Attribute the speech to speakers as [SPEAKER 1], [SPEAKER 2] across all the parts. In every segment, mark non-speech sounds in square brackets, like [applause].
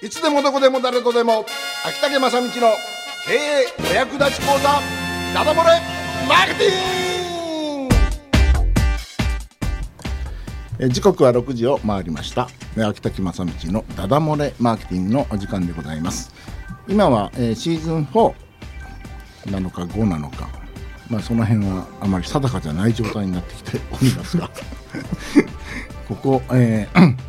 [SPEAKER 1] いつでもどこでも誰とでも秋竹正道の経営お役立ち講座ダダ漏れマーケティングえ時刻は6時を回りましたえ秋竹正道のダダ漏れマーケティングのお時間でございます今は、えーシーズン4なのか5なのかまあその辺はあまり定かじゃない状態になってきて [laughs] おりますがここ、えー [clears throat]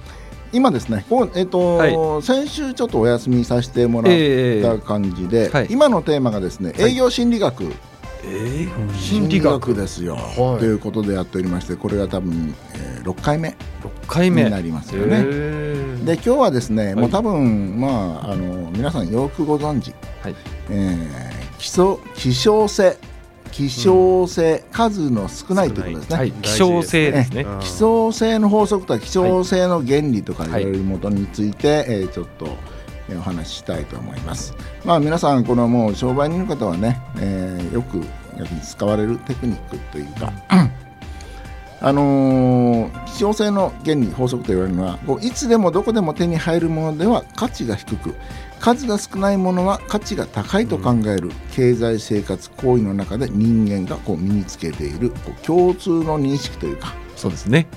[SPEAKER 1] 今ですね、こうえっ、と、
[SPEAKER 2] は
[SPEAKER 1] 先週ちょっとお休みさせてもらった感じで、
[SPEAKER 2] ええはい
[SPEAKER 1] 今のテーマがですね、営業心理学、
[SPEAKER 2] えー、
[SPEAKER 1] 心理
[SPEAKER 2] 心理学
[SPEAKER 1] 学ですよ、
[SPEAKER 2] はい
[SPEAKER 1] ということでやっておりまして、これが多分、え6回目
[SPEAKER 2] 6
[SPEAKER 1] に
[SPEAKER 2] 回目
[SPEAKER 1] なりますよね。
[SPEAKER 2] えー
[SPEAKER 1] で今日はですね、もう
[SPEAKER 2] はい
[SPEAKER 1] 多分まああの皆さんよくご存知、
[SPEAKER 2] はい
[SPEAKER 1] えー基礎希少性希少性、数の少ないということですね。
[SPEAKER 2] はい、希少性ですね
[SPEAKER 3] ええ。
[SPEAKER 1] 希少性の法則とか希少性の原理とかい
[SPEAKER 2] は
[SPEAKER 1] ろ
[SPEAKER 2] い
[SPEAKER 1] いろもとについて、えーちょっとえーお話ししたいと思います。まあ皆さんこのもう商売人の方はね、えーよく逆に使われるテクニックというか。あのー希少性の原理法則と言われるのはこういつでもどこでも手に入るものでは価値が低く数が少ないものは価値が高いと考える経済生活行為の中で人間がこう身につけているこう共通の認識というか
[SPEAKER 2] そうですね。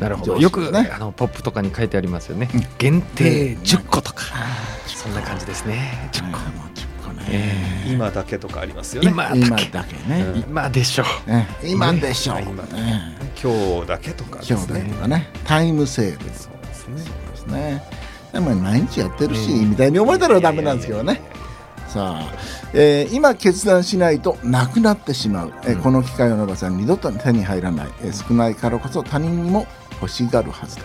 [SPEAKER 2] なるほど。
[SPEAKER 1] 上
[SPEAKER 2] よ
[SPEAKER 1] 手です
[SPEAKER 2] く、
[SPEAKER 1] ね
[SPEAKER 2] あのポップとかに書いてありますよね。
[SPEAKER 1] うん
[SPEAKER 2] 限定
[SPEAKER 1] うん
[SPEAKER 2] 10個とか、そんな感じですね。10個。
[SPEAKER 1] 個
[SPEAKER 2] え
[SPEAKER 3] 今だけとかありますよね。
[SPEAKER 2] 今だけ
[SPEAKER 1] 今だけね、
[SPEAKER 3] うん
[SPEAKER 2] 今でしょう。
[SPEAKER 1] ね今でしょう、
[SPEAKER 3] ね今
[SPEAKER 1] ね
[SPEAKER 3] 今日だけとかです
[SPEAKER 1] 今
[SPEAKER 3] ね。
[SPEAKER 1] 日だとかねタイムセール
[SPEAKER 3] そうですね。
[SPEAKER 1] ですねでも毎日やってるし、
[SPEAKER 2] うん
[SPEAKER 1] みたいに思えたらダメなんですけどねさあ、えー今決断しないとなくなってしまう、えー
[SPEAKER 2] うん
[SPEAKER 1] この機会を逃せば二度と手に入らない、えー少ないからこそ他人にも欲しがるはずだ、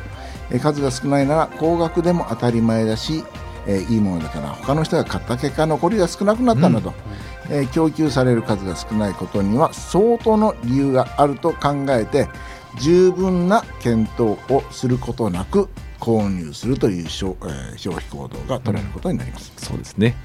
[SPEAKER 1] えー数が少ないなら高額でも当たり前だし、えーいいものだから他の人が買った結果残りが少なくなったんだと、えー供給される数が少ないことには相当の理由があると考えて十分な検討をすることなく購入するという消,、えー消費行動が取れることになります。
[SPEAKER 2] そうですね。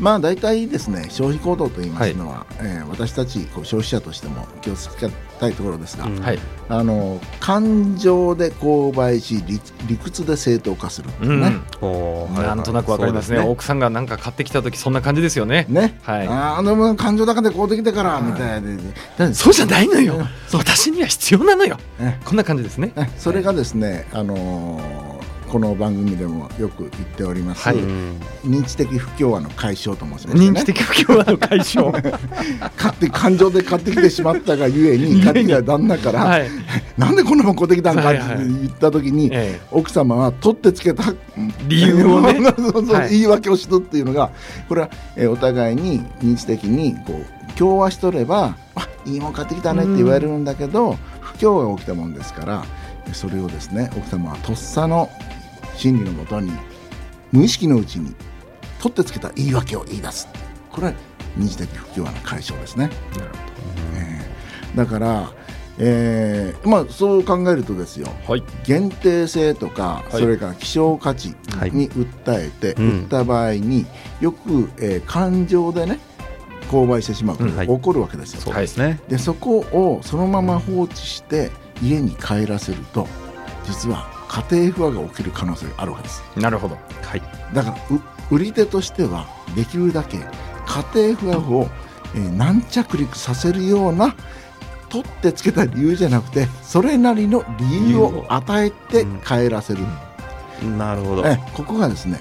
[SPEAKER 1] まあ大体ですね消費行動といいますのは、えー私たちこう消費者としても気をつけたいところですが、
[SPEAKER 3] うん
[SPEAKER 2] はい。。
[SPEAKER 1] あの感情で購買し理理屈で正当化するっていううんね,、
[SPEAKER 3] おーはいはい
[SPEAKER 2] なんとなくわかります
[SPEAKER 1] そう
[SPEAKER 2] ね
[SPEAKER 1] ですね
[SPEAKER 2] 奥さんがなんか買ってきた時そんな感じですよね。
[SPEAKER 1] ね
[SPEAKER 2] はい
[SPEAKER 1] ああでも感情だけでこうできてからみたいで、だって
[SPEAKER 2] そうじゃないの
[SPEAKER 1] う
[SPEAKER 2] よ
[SPEAKER 1] ん。
[SPEAKER 2] 私には必要なのよ。
[SPEAKER 1] ね
[SPEAKER 2] こんな感じですね。
[SPEAKER 1] ねそれがですね、あのーこの番組でもよく言っております、
[SPEAKER 2] はい
[SPEAKER 3] うん
[SPEAKER 1] 認知的不協和の解消と申しますね
[SPEAKER 2] 認知的不協和の解
[SPEAKER 1] [laughs]
[SPEAKER 2] 消。
[SPEAKER 1] 買って感情で買ってきてしまったがゆえに買ってきた旦那から、
[SPEAKER 2] はい。
[SPEAKER 1] なんでこんなもん買ってきたんか
[SPEAKER 2] は
[SPEAKER 1] っ
[SPEAKER 2] い
[SPEAKER 1] て
[SPEAKER 2] はい
[SPEAKER 1] 言った時に、
[SPEAKER 2] ええ
[SPEAKER 1] 奥様は取ってつけた
[SPEAKER 2] 理由をね
[SPEAKER 1] [laughs] そうそうそう
[SPEAKER 2] はい
[SPEAKER 1] 言い訳をしとっていうのがこれは、えーお互いに認知的にこう共和しとればあいいもん買ってきたねって言われるんだけど不協和が起きたもんですからそれをですね奥様はとっさの心理のもとに無意識のうちに取ってつけた言い訳を言い出すこれは認知的不協和の解消ですね。えーだから、えーまあ、そう考えるとですよ
[SPEAKER 2] はい。
[SPEAKER 1] 限定性とか、
[SPEAKER 2] はい
[SPEAKER 1] それから希少価値
[SPEAKER 3] はい
[SPEAKER 1] に訴えて、
[SPEAKER 3] うん
[SPEAKER 1] 売った場合によく、えー感情でね購買してしまうこと
[SPEAKER 2] うん
[SPEAKER 1] が
[SPEAKER 2] はい
[SPEAKER 1] 起こるわけですよ、
[SPEAKER 3] そうですね。
[SPEAKER 1] でそこをそのまま放置して家に帰らせると実は家庭不和が起きる可能性があるわけです
[SPEAKER 2] なるほど。
[SPEAKER 3] はい。
[SPEAKER 1] だからう売り手としてはできるだけ家庭不安を、えー軟着陸させるような取ってつけた理由じゃなくてそれなりの理由を与えて帰らせる、
[SPEAKER 3] なるほど。
[SPEAKER 1] えここがですね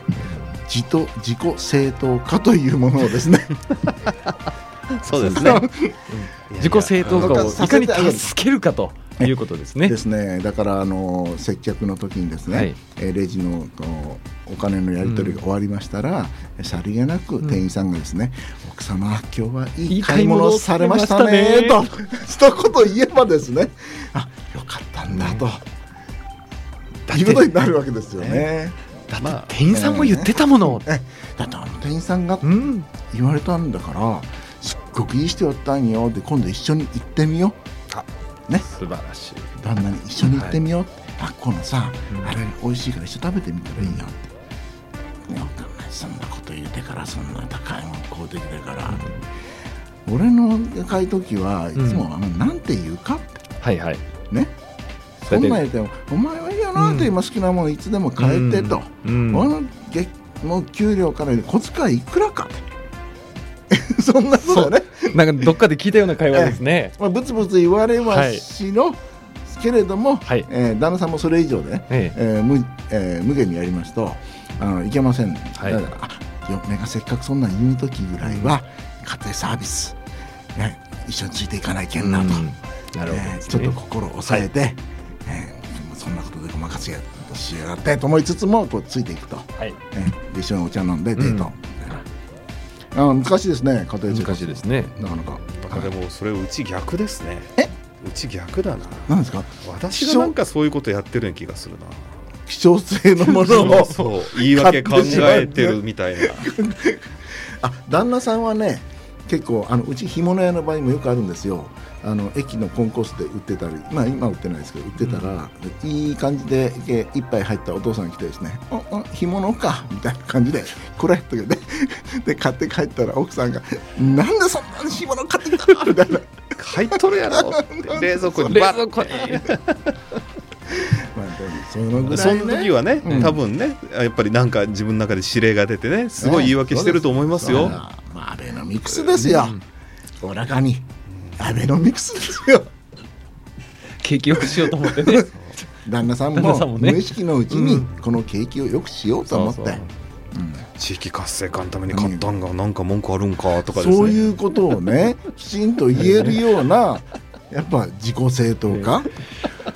[SPEAKER 1] 自と自己正当化というものをですね
[SPEAKER 3] そうですね。いやいや
[SPEAKER 2] 自己正当化をいかに助けるかということですね
[SPEAKER 1] で。すねだからあのー接客の時にですね、
[SPEAKER 2] はい
[SPEAKER 1] えーレジのこうお金のやり取りが終わりましたら、さりげなく店員さんがですね、奥様今日はい
[SPEAKER 2] い
[SPEAKER 1] い
[SPEAKER 2] い
[SPEAKER 1] 買
[SPEAKER 2] 買
[SPEAKER 1] い
[SPEAKER 2] い
[SPEAKER 1] 物
[SPEAKER 2] 物
[SPEAKER 1] を
[SPEAKER 2] を
[SPEAKER 1] されました
[SPEAKER 2] さ
[SPEAKER 1] ね
[SPEAKER 2] れ
[SPEAKER 1] と
[SPEAKER 2] ま
[SPEAKER 1] 一言言えばですねあよかったんだと、
[SPEAKER 2] だっ
[SPEAKER 1] いうことに
[SPEAKER 2] て
[SPEAKER 1] なるわけですよね。
[SPEAKER 2] だって
[SPEAKER 3] まあ
[SPEAKER 2] 店員さんも言ってたもの。
[SPEAKER 1] だってあの店員さんが
[SPEAKER 2] うん。
[SPEAKER 1] 言われたんだからすっごくいい人やったんよで今度一緒に行ってみよう
[SPEAKER 2] 素晴らしい。
[SPEAKER 1] 旦那に一緒に行ってみようって、あこのさ、
[SPEAKER 2] うん
[SPEAKER 1] あれ美味しいから一緒に食べてみたらいいよって、いやお前そんなこと言うてからそんな高いもん買うてきてから、俺の買い時はいつも、あのなんて言うかって
[SPEAKER 2] はいはい。
[SPEAKER 1] ねそ
[SPEAKER 2] それ
[SPEAKER 1] ん
[SPEAKER 2] で
[SPEAKER 1] なん言ってもお前はいいよなって、
[SPEAKER 2] うん
[SPEAKER 1] 今好きなもんいつでも買えてと、
[SPEAKER 2] うん。うん
[SPEAKER 1] 俺のげもう給料から小遣いいくらか [laughs] そんなことだね、
[SPEAKER 2] なんかどっかで聞いたような会話ですね。
[SPEAKER 1] まあ、ぶつぶつ言われはしの、けれども、
[SPEAKER 2] はい
[SPEAKER 1] えー旦那さんもそれ以上でね、
[SPEAKER 2] ええ
[SPEAKER 1] えー無えー無限にやりますとあのいけません、
[SPEAKER 2] はい
[SPEAKER 1] だからあ嫁がせっかくそんなん言う時ぐらいは家庭サービス、ね、一緒についていかないけんなと、
[SPEAKER 2] うんなるほど
[SPEAKER 1] えー
[SPEAKER 2] です
[SPEAKER 1] ちょっ
[SPEAKER 2] ね
[SPEAKER 1] と心を抑えて、えーそんなことでごまかしやしやがってと思いつつもこうついていくと、
[SPEAKER 2] はい。
[SPEAKER 1] えーで一緒にお茶飲んでデート、
[SPEAKER 2] うん
[SPEAKER 1] あー難しいですね家庭生
[SPEAKER 2] 難し
[SPEAKER 1] 活
[SPEAKER 2] いですね。
[SPEAKER 1] なかなか
[SPEAKER 3] あでもそれうち逆ですね
[SPEAKER 1] え
[SPEAKER 3] うち逆だな
[SPEAKER 1] 何ですか
[SPEAKER 3] 私がなんかそういうことやってるような気がするな
[SPEAKER 1] 希少性のものを
[SPEAKER 3] そう言い訳考えてるみたいな
[SPEAKER 1] あ旦那さんはね結構あのうち干物屋の場合もよくあるんですよあの駅のコンコースで売ってたりまあ今は売ってないですけど売ってたら、いい感じでえ一杯入ったお父さんが来てですね「おお干物か」みたいな感じで「これ」とかで [laughs] で買って帰ったら奥さんが「なんでそんなに干物買ってきたの?」みたいな、
[SPEAKER 3] [laughs] 買い取るやろって冷蔵庫にバッ
[SPEAKER 1] まあ、でもそのぐら
[SPEAKER 3] そ
[SPEAKER 1] い、ね、
[SPEAKER 3] んな時はね、
[SPEAKER 1] うん
[SPEAKER 3] 多分ねやっぱりなんか自分の中で指令が出てねすごい言い訳してると思います
[SPEAKER 1] そう
[SPEAKER 3] よ、
[SPEAKER 1] だまあ、アベノミクスですよ、おらかにアベノミクスですよ
[SPEAKER 2] 景気よくしようと思ってね。
[SPEAKER 1] [laughs] 旦那さん
[SPEAKER 2] 旦那
[SPEAKER 1] も
[SPEAKER 2] さんもね
[SPEAKER 1] 無意識のうちにこの景気を良くしようと思って、
[SPEAKER 2] そううそう
[SPEAKER 3] 地域活性化のために買ったんがなんか文句あるんかと
[SPEAKER 1] ん
[SPEAKER 3] かですね
[SPEAKER 1] そういうことをねきちんと言えるようなやっぱ自己正当
[SPEAKER 2] [laughs]
[SPEAKER 1] 化、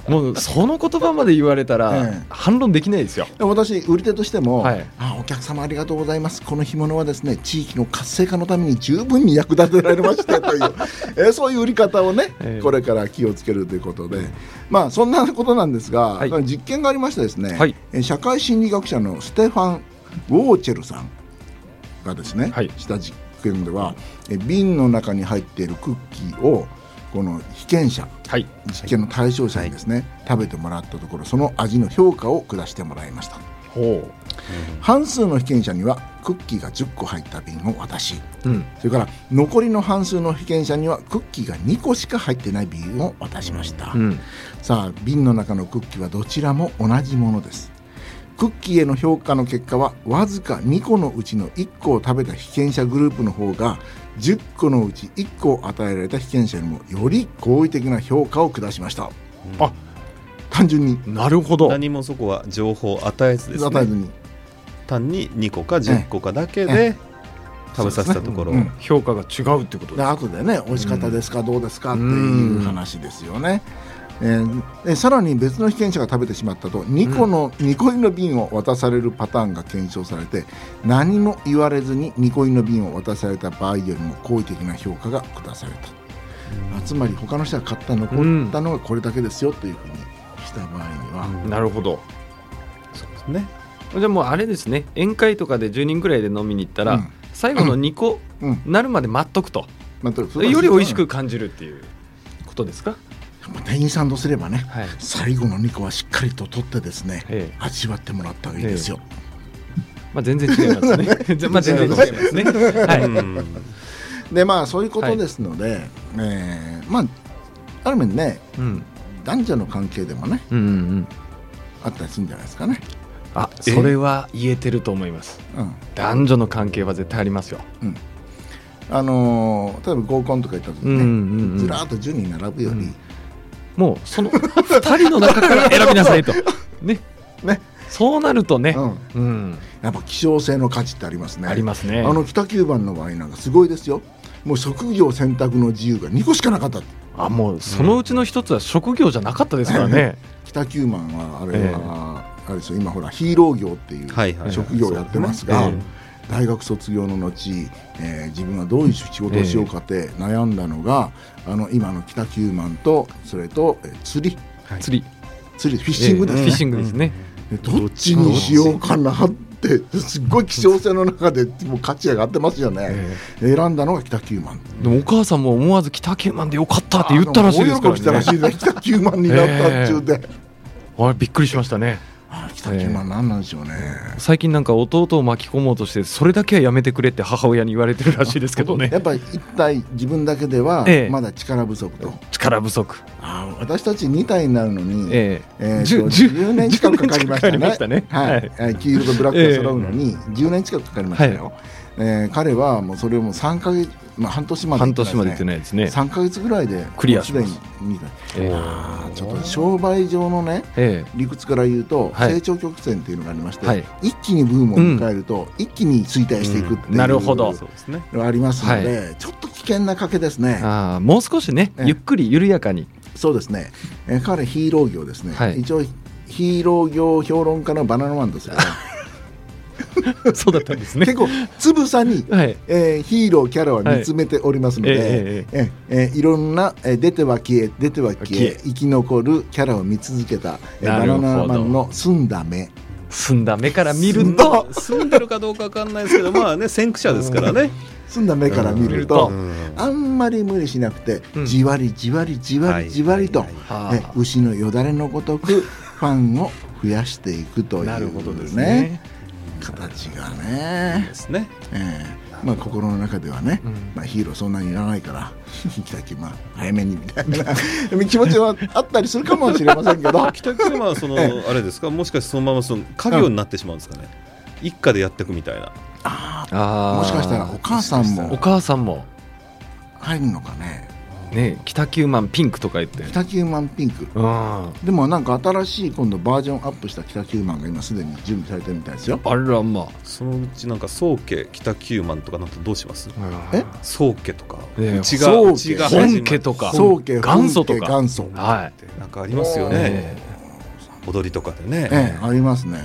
[SPEAKER 2] もうその言葉まで言われたら
[SPEAKER 1] ええ
[SPEAKER 2] 反論できないですよ。
[SPEAKER 1] で私売り手としても、
[SPEAKER 2] はい
[SPEAKER 1] あお客様ありがとうございますこの干物はですね地域の活性化のために十分に役立てられましたという [laughs] えーそういう売り方をね、
[SPEAKER 2] ええ
[SPEAKER 1] これから気をつけるということでまあそんなことなんですが、
[SPEAKER 2] はい
[SPEAKER 1] 実験がありましてですね、
[SPEAKER 2] はい
[SPEAKER 1] えー社会心理学者のステファン・ウォーチェルさんがですね、
[SPEAKER 2] はい
[SPEAKER 1] した実験ではえー瓶の中に入っているクッキーをこの被験者
[SPEAKER 2] はい。
[SPEAKER 1] 実験の対象者にですね、食べてもらったところその味の評価を下してもらいました
[SPEAKER 2] ほ
[SPEAKER 1] 半数の被験者にはクッキーが10個入った瓶を渡し
[SPEAKER 2] う。うん。
[SPEAKER 1] それから残りの半数の被験者にはクッキーが2個しか入ってない瓶を渡しました、
[SPEAKER 2] うん。
[SPEAKER 1] さあ瓶の中のクッキーはどちらも同じものですクッキーへの評価の結果はわずか2個のうちの1個を食べた被験者グループの方が10個のうち1個を与えられた被験者よりもより好意的な評価を下しました
[SPEAKER 3] うん
[SPEAKER 2] あ
[SPEAKER 1] 単純に
[SPEAKER 2] なるほど。
[SPEAKER 3] 何もそこは情報を与えずです
[SPEAKER 1] 与え
[SPEAKER 3] ね
[SPEAKER 1] ずに
[SPEAKER 3] 単に2個か10個かだけ
[SPEAKER 1] え
[SPEAKER 3] で食べさせたところ、
[SPEAKER 1] そうですね
[SPEAKER 2] 評価が違うってこと
[SPEAKER 1] で
[SPEAKER 2] です。
[SPEAKER 1] 後でね美味しかったですか、どうですかっていう話ですよね、えーでさらに別の被験者が食べてしまったと2個の、2個入りの瓶を渡されるパターンが検証されて何も言われずに2個入りの瓶を渡された場合よりも好意的な評価が下された、あつまり他の人が買った残ったのがこれだけですよというふうにした場合には、
[SPEAKER 2] なるほど。
[SPEAKER 3] そうですね
[SPEAKER 2] じゃあもうあれですね。宴会とかで10人くらいで飲みに行ったら、
[SPEAKER 1] うん
[SPEAKER 2] 最後の2個
[SPEAKER 1] うん
[SPEAKER 2] なるまで待っとくと、
[SPEAKER 1] まあ
[SPEAKER 2] より美味しく感じるっていうことですか。
[SPEAKER 1] まあ店員さんとすればね
[SPEAKER 2] はい。
[SPEAKER 1] 最後の2個はしっかりと取ってですね
[SPEAKER 2] ええ
[SPEAKER 1] 味わってもらった方がいいですよ、
[SPEAKER 2] まあ全然違いますね。まあ [laughs] 全然違いますね。は
[SPEAKER 3] うん
[SPEAKER 1] でまあそういうことですので、えーまあある面ね
[SPEAKER 2] い。うん。
[SPEAKER 1] 男女の関係でもね
[SPEAKER 2] うんうんうん。
[SPEAKER 1] あったりするんじゃないですかね。
[SPEAKER 2] あ、
[SPEAKER 3] え
[SPEAKER 2] それは言えてると思います。
[SPEAKER 1] うん
[SPEAKER 2] 男女の関係は絶対ありますよ。
[SPEAKER 1] あのー例えば合コンとか行った時
[SPEAKER 2] うん
[SPEAKER 1] に
[SPEAKER 2] うんう
[SPEAKER 1] ね
[SPEAKER 2] ん
[SPEAKER 1] ずらーっと10人並ぶより、
[SPEAKER 2] もうその二人の中から選びな [laughs] さいと。ね。
[SPEAKER 1] ね
[SPEAKER 2] そうなるとね
[SPEAKER 1] う。ん
[SPEAKER 2] うん。
[SPEAKER 1] やっぱ希少性の価値ってありますね。
[SPEAKER 2] ありますね。
[SPEAKER 1] あの北九番の場合なんかすごいですよ。もう職業選択の自由が2個しかなかったって
[SPEAKER 2] あ、もうそのうちの一つは職業じゃなかったですからね。
[SPEAKER 1] 北九番はあれ
[SPEAKER 2] ええ
[SPEAKER 1] は、あれですよ今ほらヒーロー業っていう
[SPEAKER 3] はいはいはい
[SPEAKER 1] 職業をやってますが、
[SPEAKER 2] そうですね
[SPEAKER 1] 大学卒業の後、えー自分はどういう仕事をしようかって悩んだのが、あの今の北九万とそれと、えー釣り
[SPEAKER 3] はい
[SPEAKER 2] 釣り。
[SPEAKER 1] 釣りフィッシングです
[SPEAKER 2] ええ
[SPEAKER 1] ね
[SPEAKER 2] フィッシングですね。
[SPEAKER 1] でどっちにしようかなってすっごい希少性の中でもう価値上がってますよね、
[SPEAKER 2] え
[SPEAKER 1] 選んだのが北九万
[SPEAKER 2] えでもお母さんも思わず北九万でよかったって言ったらしいですから
[SPEAKER 1] 大喜びしたら
[SPEAKER 2] ね
[SPEAKER 1] し。いね北九万になったっちゅうで、
[SPEAKER 2] あれびっくりしましたね。
[SPEAKER 1] あ北九万何なんでしょうね、
[SPEAKER 2] 最近なんか弟を巻き込もうとしてそれだけはやめてくれって母親に言われてるらしいですけどね
[SPEAKER 1] [laughs] やっぱり一体自分だけでは
[SPEAKER 2] ええ
[SPEAKER 1] まだ力不足と、
[SPEAKER 2] 力不足、
[SPEAKER 1] あー私たち2体になるのに、え
[SPEAKER 2] ええ
[SPEAKER 1] ーと
[SPEAKER 2] 10
[SPEAKER 1] 10年近くかかりましたね
[SPEAKER 2] 10年近くかかりました
[SPEAKER 1] はい
[SPEAKER 2] ね
[SPEAKER 1] えー黄色とブラックが揃うのに10年近くかかりましたよ、えー彼はもうそれをもう3か月、まあ、半年まで
[SPEAKER 2] 半年までいって
[SPEAKER 1] ね
[SPEAKER 2] ないですね、
[SPEAKER 1] 3か月ぐらいで
[SPEAKER 2] クリアします
[SPEAKER 1] もうすでに見た
[SPEAKER 2] え
[SPEAKER 1] あーちょっと商売上のね
[SPEAKER 2] ええ
[SPEAKER 1] 理屈から言うと、
[SPEAKER 2] はい
[SPEAKER 1] 成長曲線っていうのがありまして、
[SPEAKER 2] はい
[SPEAKER 1] 一気にブームを迎えると、一気に衰退していくっていう、
[SPEAKER 2] うんなるほど
[SPEAKER 3] そうですね。
[SPEAKER 1] ありますので、ちょっと危険な賭けですね。
[SPEAKER 2] ああもう少しね、
[SPEAKER 1] ええ
[SPEAKER 2] ゆっくり緩や
[SPEAKER 1] [laughs]
[SPEAKER 2] かに、
[SPEAKER 1] そうですね。えー彼ヒーロー業ですね。
[SPEAKER 2] はい
[SPEAKER 1] 一応ヒーロー業評論家のバナナマンですよね。
[SPEAKER 2] そうだったんですね。
[SPEAKER 1] 結構つぶさに、
[SPEAKER 2] はい、
[SPEAKER 1] えーヒーローキャラは見つめておりますので。
[SPEAKER 2] ええええええ
[SPEAKER 1] ええーいろんな、えー出ては消え出ては消え
[SPEAKER 2] 消え
[SPEAKER 1] 生き残るキャラを見続けた、えー
[SPEAKER 2] な
[SPEAKER 1] バ
[SPEAKER 2] る
[SPEAKER 1] ナ
[SPEAKER 2] ほど
[SPEAKER 1] ナマンの澄んだ目
[SPEAKER 2] 澄んだ目から見
[SPEAKER 1] 澄
[SPEAKER 2] る
[SPEAKER 1] んだ
[SPEAKER 2] と、
[SPEAKER 3] まあ住んでるかどうかわかんないですけど、まあね、先駆者ですからね。
[SPEAKER 1] 澄んだ目から見る
[SPEAKER 2] う
[SPEAKER 1] と、
[SPEAKER 3] ん
[SPEAKER 1] あんまり無理しなくて、
[SPEAKER 2] うん
[SPEAKER 1] じわりじわりじわりじわりと、
[SPEAKER 3] はいはいはい
[SPEAKER 2] あ
[SPEAKER 1] ね、
[SPEAKER 2] あ
[SPEAKER 1] 牛のよだれのごと
[SPEAKER 2] [laughs]
[SPEAKER 1] くファンを増やしていくという、ね、
[SPEAKER 2] なるほどですね。
[SPEAKER 1] 形が
[SPEAKER 3] で
[SPEAKER 1] ね、
[SPEAKER 3] すね。
[SPEAKER 1] ええまあ、心の中ではね、
[SPEAKER 2] うん
[SPEAKER 1] まあ、ヒーローそんなにいらないから [laughs] 北九まあ早めにみたいな [laughs] 気持ちはあったりするかもしれません
[SPEAKER 2] [laughs]
[SPEAKER 1] けど
[SPEAKER 3] 北九はその
[SPEAKER 1] え
[SPEAKER 3] あれですか、もしかしてそのままその家業になってしまうんですかね。一家でやっていくみたいな。
[SPEAKER 1] ああ
[SPEAKER 2] ああ
[SPEAKER 1] もしかしたらお母さん
[SPEAKER 2] お
[SPEAKER 1] も
[SPEAKER 2] 母さんも
[SPEAKER 1] 入るのかね
[SPEAKER 2] ね北九万ピンクとか言って、
[SPEAKER 1] 北九万ピンク
[SPEAKER 2] うん、あ
[SPEAKER 1] でもなんか新しい今度バージョンアップした北九万が今すでに準備されてるみたいですよ
[SPEAKER 2] らま
[SPEAKER 3] そのうちなんか宗家北九万とかなんかどうします？
[SPEAKER 2] あ、
[SPEAKER 1] え
[SPEAKER 3] 宗家とか、
[SPEAKER 2] ええ
[SPEAKER 3] うちが
[SPEAKER 1] 宗家
[SPEAKER 3] うちが始ま
[SPEAKER 2] 本家とか
[SPEAKER 1] 宗家
[SPEAKER 2] 元祖とか
[SPEAKER 1] 本家元祖
[SPEAKER 2] はい、
[SPEAKER 3] なんかありますよね。
[SPEAKER 2] え
[SPEAKER 3] 踊りとかでね。
[SPEAKER 1] え [laughs] えありますね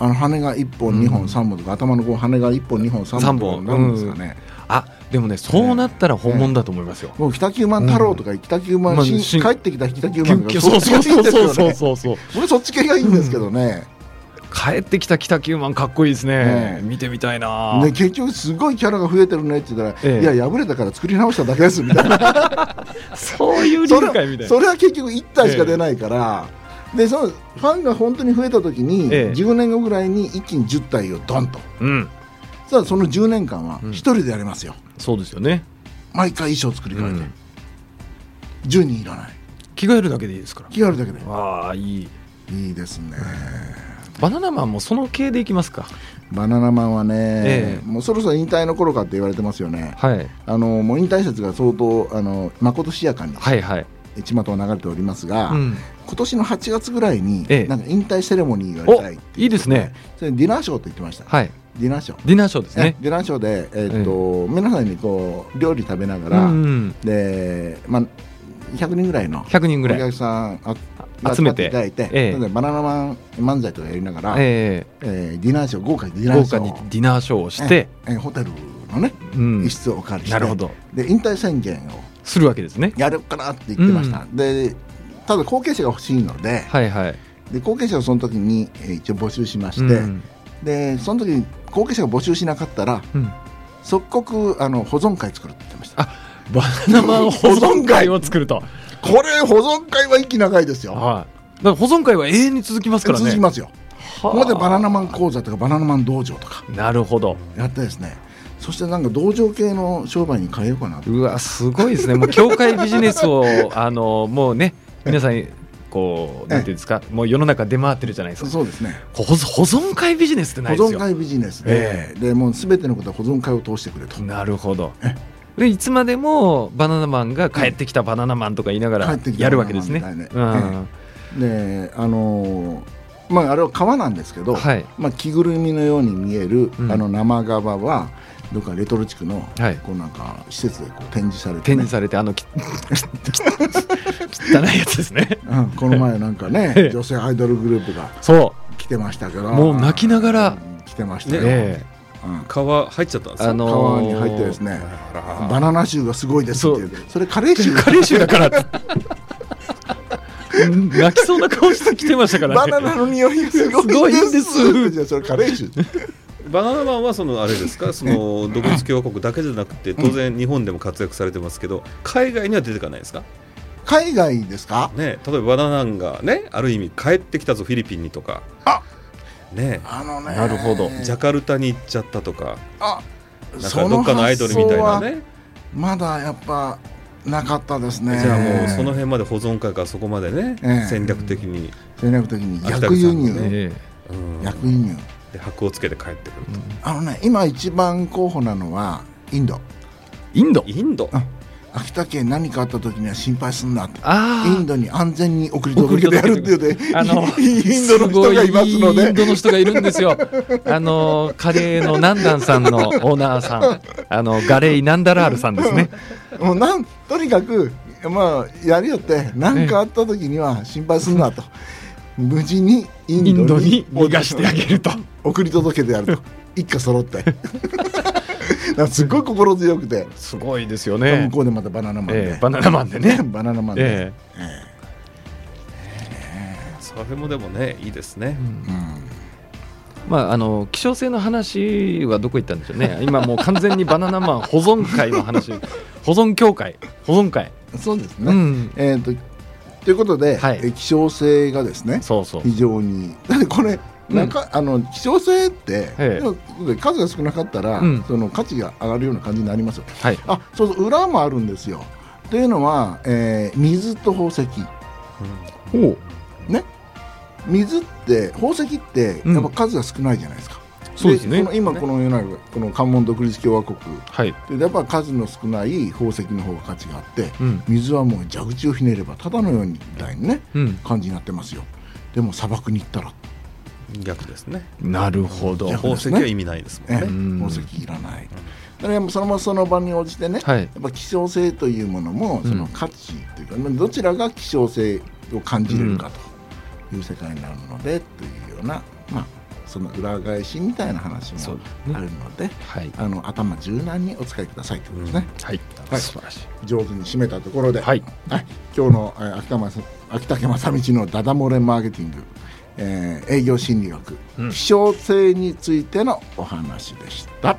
[SPEAKER 1] あの羽が1本
[SPEAKER 2] うん
[SPEAKER 1] 2本3本とか、頭のこう羽が1本2本3本とかなんですかね、
[SPEAKER 2] えあでもねそうなったら本物だと思いますよ。
[SPEAKER 1] もう北九万太郎とか北九万、
[SPEAKER 2] まあ
[SPEAKER 1] 新
[SPEAKER 2] 新
[SPEAKER 1] 帰ってきた北九
[SPEAKER 2] キュ
[SPEAKER 1] 万
[SPEAKER 2] ン
[SPEAKER 1] と
[SPEAKER 2] キュ
[SPEAKER 1] か
[SPEAKER 2] ンそうそうそうそ
[SPEAKER 1] そっち系ですよね
[SPEAKER 2] うそうそうそう
[SPEAKER 1] 僕そっち系がいいんですけどね,、
[SPEAKER 2] 帰ってきた北九万かっこいいです
[SPEAKER 1] え
[SPEAKER 2] ね
[SPEAKER 1] え
[SPEAKER 2] 見てみたいな
[SPEAKER 1] ね結局すごいキャラが増えてるねって言ったら、
[SPEAKER 2] ええ
[SPEAKER 1] いや破れたから作り直しただけですみた
[SPEAKER 2] [laughs]
[SPEAKER 1] いな
[SPEAKER 2] そういう理
[SPEAKER 1] そ
[SPEAKER 2] 解
[SPEAKER 1] れ
[SPEAKER 2] みたいな
[SPEAKER 1] はそれは結局1体しか出ないから、でそのファンが本当に増えた時に、
[SPEAKER 2] ええ
[SPEAKER 1] 10年後ぐらいに一気に10体をドンと
[SPEAKER 2] うん
[SPEAKER 1] さあその10年間は
[SPEAKER 2] うん
[SPEAKER 1] 1人でやりますよ、
[SPEAKER 2] そうですよね、
[SPEAKER 1] 毎回衣装作り
[SPEAKER 2] う
[SPEAKER 1] 変えて、
[SPEAKER 2] ん、
[SPEAKER 1] 10人いらない
[SPEAKER 2] 着替えるだけでいいですから
[SPEAKER 1] 気軽だけで
[SPEAKER 2] ああいい
[SPEAKER 1] いいですね
[SPEAKER 2] バナナマンもその系でいきますか
[SPEAKER 1] バナナマンはね、
[SPEAKER 2] ええ
[SPEAKER 1] もうそろそろ引退の頃かって言われてますよね
[SPEAKER 2] はい
[SPEAKER 1] あのもう引退説が相当あのまことしやかに
[SPEAKER 2] はいはい、
[SPEAKER 1] 巷を流れておりますが、
[SPEAKER 2] うん、
[SPEAKER 1] 今年の8月ぐらいに、
[SPEAKER 2] ええ
[SPEAKER 1] なんか引退セレモニーがやり
[SPEAKER 2] お
[SPEAKER 1] たい
[SPEAKER 2] いいですね
[SPEAKER 1] それディナーショーって言ってました、
[SPEAKER 2] はい
[SPEAKER 1] ディナーショー、
[SPEAKER 2] ディナーショーです
[SPEAKER 1] ね
[SPEAKER 2] ね、
[SPEAKER 1] ディナーショーで、えーっと皆さんにこう料理食べなが
[SPEAKER 2] う
[SPEAKER 1] ら、
[SPEAKER 2] ん、
[SPEAKER 1] でまあ、100人ぐらいの
[SPEAKER 2] 100人
[SPEAKER 1] お
[SPEAKER 2] ぐらい
[SPEAKER 1] 客さんあ
[SPEAKER 2] 集めて
[SPEAKER 1] いただいて、
[SPEAKER 2] ええ
[SPEAKER 1] それでバナナマン漫才とかやりながら、え
[SPEAKER 2] え
[SPEAKER 1] ーディナーショー豪華にディ
[SPEAKER 2] え
[SPEAKER 1] ナー
[SPEAKER 2] 豪
[SPEAKER 1] ショ
[SPEAKER 2] 華
[SPEAKER 1] ー
[SPEAKER 2] にディナーショーをして、
[SPEAKER 1] ええホテルのね
[SPEAKER 2] うん
[SPEAKER 1] 一、室をお借りして、
[SPEAKER 2] なるほど
[SPEAKER 1] で引退宣言を
[SPEAKER 2] するわけですね
[SPEAKER 1] やるからって言ってました、でただ後継者が欲しいので
[SPEAKER 2] はいはい
[SPEAKER 1] で後継者をその時に、えー一応募集しまして、
[SPEAKER 2] うん
[SPEAKER 1] でその時に後継者が募集しなかったら
[SPEAKER 2] うん、
[SPEAKER 1] 即刻あの保存会作るって言ってました
[SPEAKER 2] あバナナマン保存会を作ると
[SPEAKER 1] これ保存会は息長いですよ、
[SPEAKER 2] はい。だから保存会は永遠に続きますからね。
[SPEAKER 1] 続きますよこ
[SPEAKER 2] はあ
[SPEAKER 1] こでバナナマン講座とかバナナマン道場とか
[SPEAKER 2] なるほど。
[SPEAKER 1] やってですねそしてなんか道場系の商売に変えようかなと
[SPEAKER 2] うわ、すごいですね。もう教会ビジネス [laughs] を、あの、もうね、皆さん、こう、なんていうんですか、もう世の中出回ってるじゃないですか。
[SPEAKER 1] そうですね
[SPEAKER 2] 保存保存会ビジネスってな
[SPEAKER 1] 保
[SPEAKER 2] いです
[SPEAKER 1] 存
[SPEAKER 2] よ。
[SPEAKER 1] 会ビジネスで,、でもう全てのことは保存会を通してくれと帰
[SPEAKER 2] なるほど。でいつまでもバナナマンが帰ってきたバナナマンとか言いながら
[SPEAKER 1] ってきた
[SPEAKER 2] やるわけですね。
[SPEAKER 1] バナナマンみた
[SPEAKER 2] う
[SPEAKER 1] いなねええ
[SPEAKER 2] ん、
[SPEAKER 1] であのーまああれは川なんですけど、
[SPEAKER 2] はい
[SPEAKER 1] まあ、着ぐるみのように見える、
[SPEAKER 2] うん
[SPEAKER 1] あの生川はどっかレトロ地区の、
[SPEAKER 2] はい
[SPEAKER 1] こうなんか施設でこう展示されて、
[SPEAKER 2] 展
[SPEAKER 1] ね
[SPEAKER 2] 示されてあのきき汚いやつですね。
[SPEAKER 1] うん、この前なんか
[SPEAKER 2] え
[SPEAKER 1] ね
[SPEAKER 2] [laughs] え
[SPEAKER 1] 女性アイドルグループが
[SPEAKER 2] そ
[SPEAKER 1] 来てましたから
[SPEAKER 2] もう泣きながら
[SPEAKER 1] うん来てまし
[SPEAKER 2] う。
[SPEAKER 1] たよ、
[SPEAKER 2] ええ
[SPEAKER 1] うん
[SPEAKER 3] 川入っちゃったんですよ。
[SPEAKER 2] あの
[SPEAKER 1] 川に入ってですねバナナ臭がすごいですっていうそれカレー臭
[SPEAKER 2] カレー臭
[SPEAKER 1] [laughs]
[SPEAKER 2] だからってうん泣きそうな顔してきてましたから
[SPEAKER 1] バ
[SPEAKER 2] ね
[SPEAKER 1] ナナの匂いがすごいです
[SPEAKER 2] すごいんで
[SPEAKER 1] [laughs] じゃ
[SPEAKER 2] す
[SPEAKER 1] あそれカレー臭
[SPEAKER 3] バナナマンはそのあれですか、その独立共和国だけじゃなくて、当然日本でも活躍されてますけど、海外には出てかないですか。
[SPEAKER 1] 海外ですか
[SPEAKER 3] ね、例えば和田なんがねある意味帰ってきたぞフィリピンにとか
[SPEAKER 1] あ
[SPEAKER 3] ね
[SPEAKER 1] あのね
[SPEAKER 2] なるほど
[SPEAKER 3] ジャカルタに行っちゃったとか
[SPEAKER 1] あ
[SPEAKER 3] なんかどっかのアイドルみたいなね
[SPEAKER 1] まだやっぱなかったですね
[SPEAKER 3] じゃあもうその辺まで保存会からそこまでね、
[SPEAKER 1] ええ
[SPEAKER 3] 戦略的に、
[SPEAKER 1] 戦略的に逆輸入、
[SPEAKER 3] 秋田さんの
[SPEAKER 2] え
[SPEAKER 3] ねうん
[SPEAKER 1] 逆輸入
[SPEAKER 3] で箔をつけて帰ってくると、
[SPEAKER 1] あのね今一番候補なのはインド
[SPEAKER 2] インド
[SPEAKER 3] インド
[SPEAKER 1] あ秋田県何かあった時には心配すんなって
[SPEAKER 2] あ
[SPEAKER 1] イン
[SPEAKER 2] ー
[SPEAKER 1] ドに安全に送り届けてやるっていうね
[SPEAKER 2] あの
[SPEAKER 1] インドの人がいますの
[SPEAKER 2] ごいイ
[SPEAKER 1] で
[SPEAKER 2] ンドの人がいるんですよ。あのカレーのナンダンさんのオーナーさん、あのガレイナンダラールさんですね。
[SPEAKER 1] もうなんとにかく、まあ、やるよって何かあった時には心配すんなと無事にイ
[SPEAKER 2] イン
[SPEAKER 1] ン
[SPEAKER 2] ド
[SPEAKER 1] ド
[SPEAKER 2] に
[SPEAKER 1] に
[SPEAKER 2] 逃がしてあげると。
[SPEAKER 1] 送り届けてやると一家揃ってだからすっごい心強くて、
[SPEAKER 2] すごいですよね
[SPEAKER 1] 向。こうでまたバナナマンで、
[SPEAKER 2] ええバナナマンでね
[SPEAKER 1] バナナマンで、
[SPEAKER 2] え
[SPEAKER 3] それもでもねいいですね
[SPEAKER 2] え、まああの希少性の話はどこ行ったんでしょうね。今もう完全にバナナマン保存会の話、保存協会、保存会。
[SPEAKER 1] うんそうですね、
[SPEAKER 2] うん。
[SPEAKER 1] えー、とということで、
[SPEAKER 2] はい
[SPEAKER 1] え希少性がですね
[SPEAKER 2] そうそう。
[SPEAKER 1] 非常にだってこれ
[SPEAKER 2] うん
[SPEAKER 1] なんか、あの希少性って、
[SPEAKER 2] ええ
[SPEAKER 1] 要は数が少なかったら、
[SPEAKER 2] うん
[SPEAKER 1] その価値が上がるような感じになりますよ
[SPEAKER 2] はい。
[SPEAKER 1] あそうそう裏もあるんですよというのは、えー水と宝石
[SPEAKER 2] ほ
[SPEAKER 1] 水って宝石って
[SPEAKER 2] うん
[SPEAKER 1] やっぱ数が少ないじゃないですか、
[SPEAKER 2] そうですね
[SPEAKER 1] この今この世の中この関門独立共和国
[SPEAKER 2] はい。
[SPEAKER 1] でやっぱ数の少ない宝石の方が価値があって
[SPEAKER 2] うん
[SPEAKER 1] 水はもう蛇口をひねればただのようにみたいなね
[SPEAKER 2] うん。
[SPEAKER 1] 感じになってますよでも砂漠に行ったら
[SPEAKER 3] 逆ですね
[SPEAKER 2] なるほど。
[SPEAKER 1] じゃあ
[SPEAKER 3] 宝石は意味ないですもん
[SPEAKER 1] ええ
[SPEAKER 3] ね、
[SPEAKER 2] ん
[SPEAKER 1] 宝石いらない、だからそのままその場に応じてね、
[SPEAKER 2] はい。
[SPEAKER 1] やっぱ希少性というものも
[SPEAKER 2] うん
[SPEAKER 1] その価値というか、どちらが希少性を感じれるかという世界になるので、というような、まあ、その裏返しみたいな話
[SPEAKER 2] そう
[SPEAKER 1] も
[SPEAKER 2] ですね
[SPEAKER 1] あるので、
[SPEAKER 2] はい。
[SPEAKER 1] あの頭柔軟にお使いくださいということですね、
[SPEAKER 2] はい。
[SPEAKER 1] はい
[SPEAKER 2] 素晴らしい。
[SPEAKER 1] 上手に締めたところで、
[SPEAKER 2] はい
[SPEAKER 1] はい今日のえー秋田まさ秋竹正道のダダ漏れマーケティング、えー営業心理学、
[SPEAKER 2] うん
[SPEAKER 1] 希少性についてのお話でした。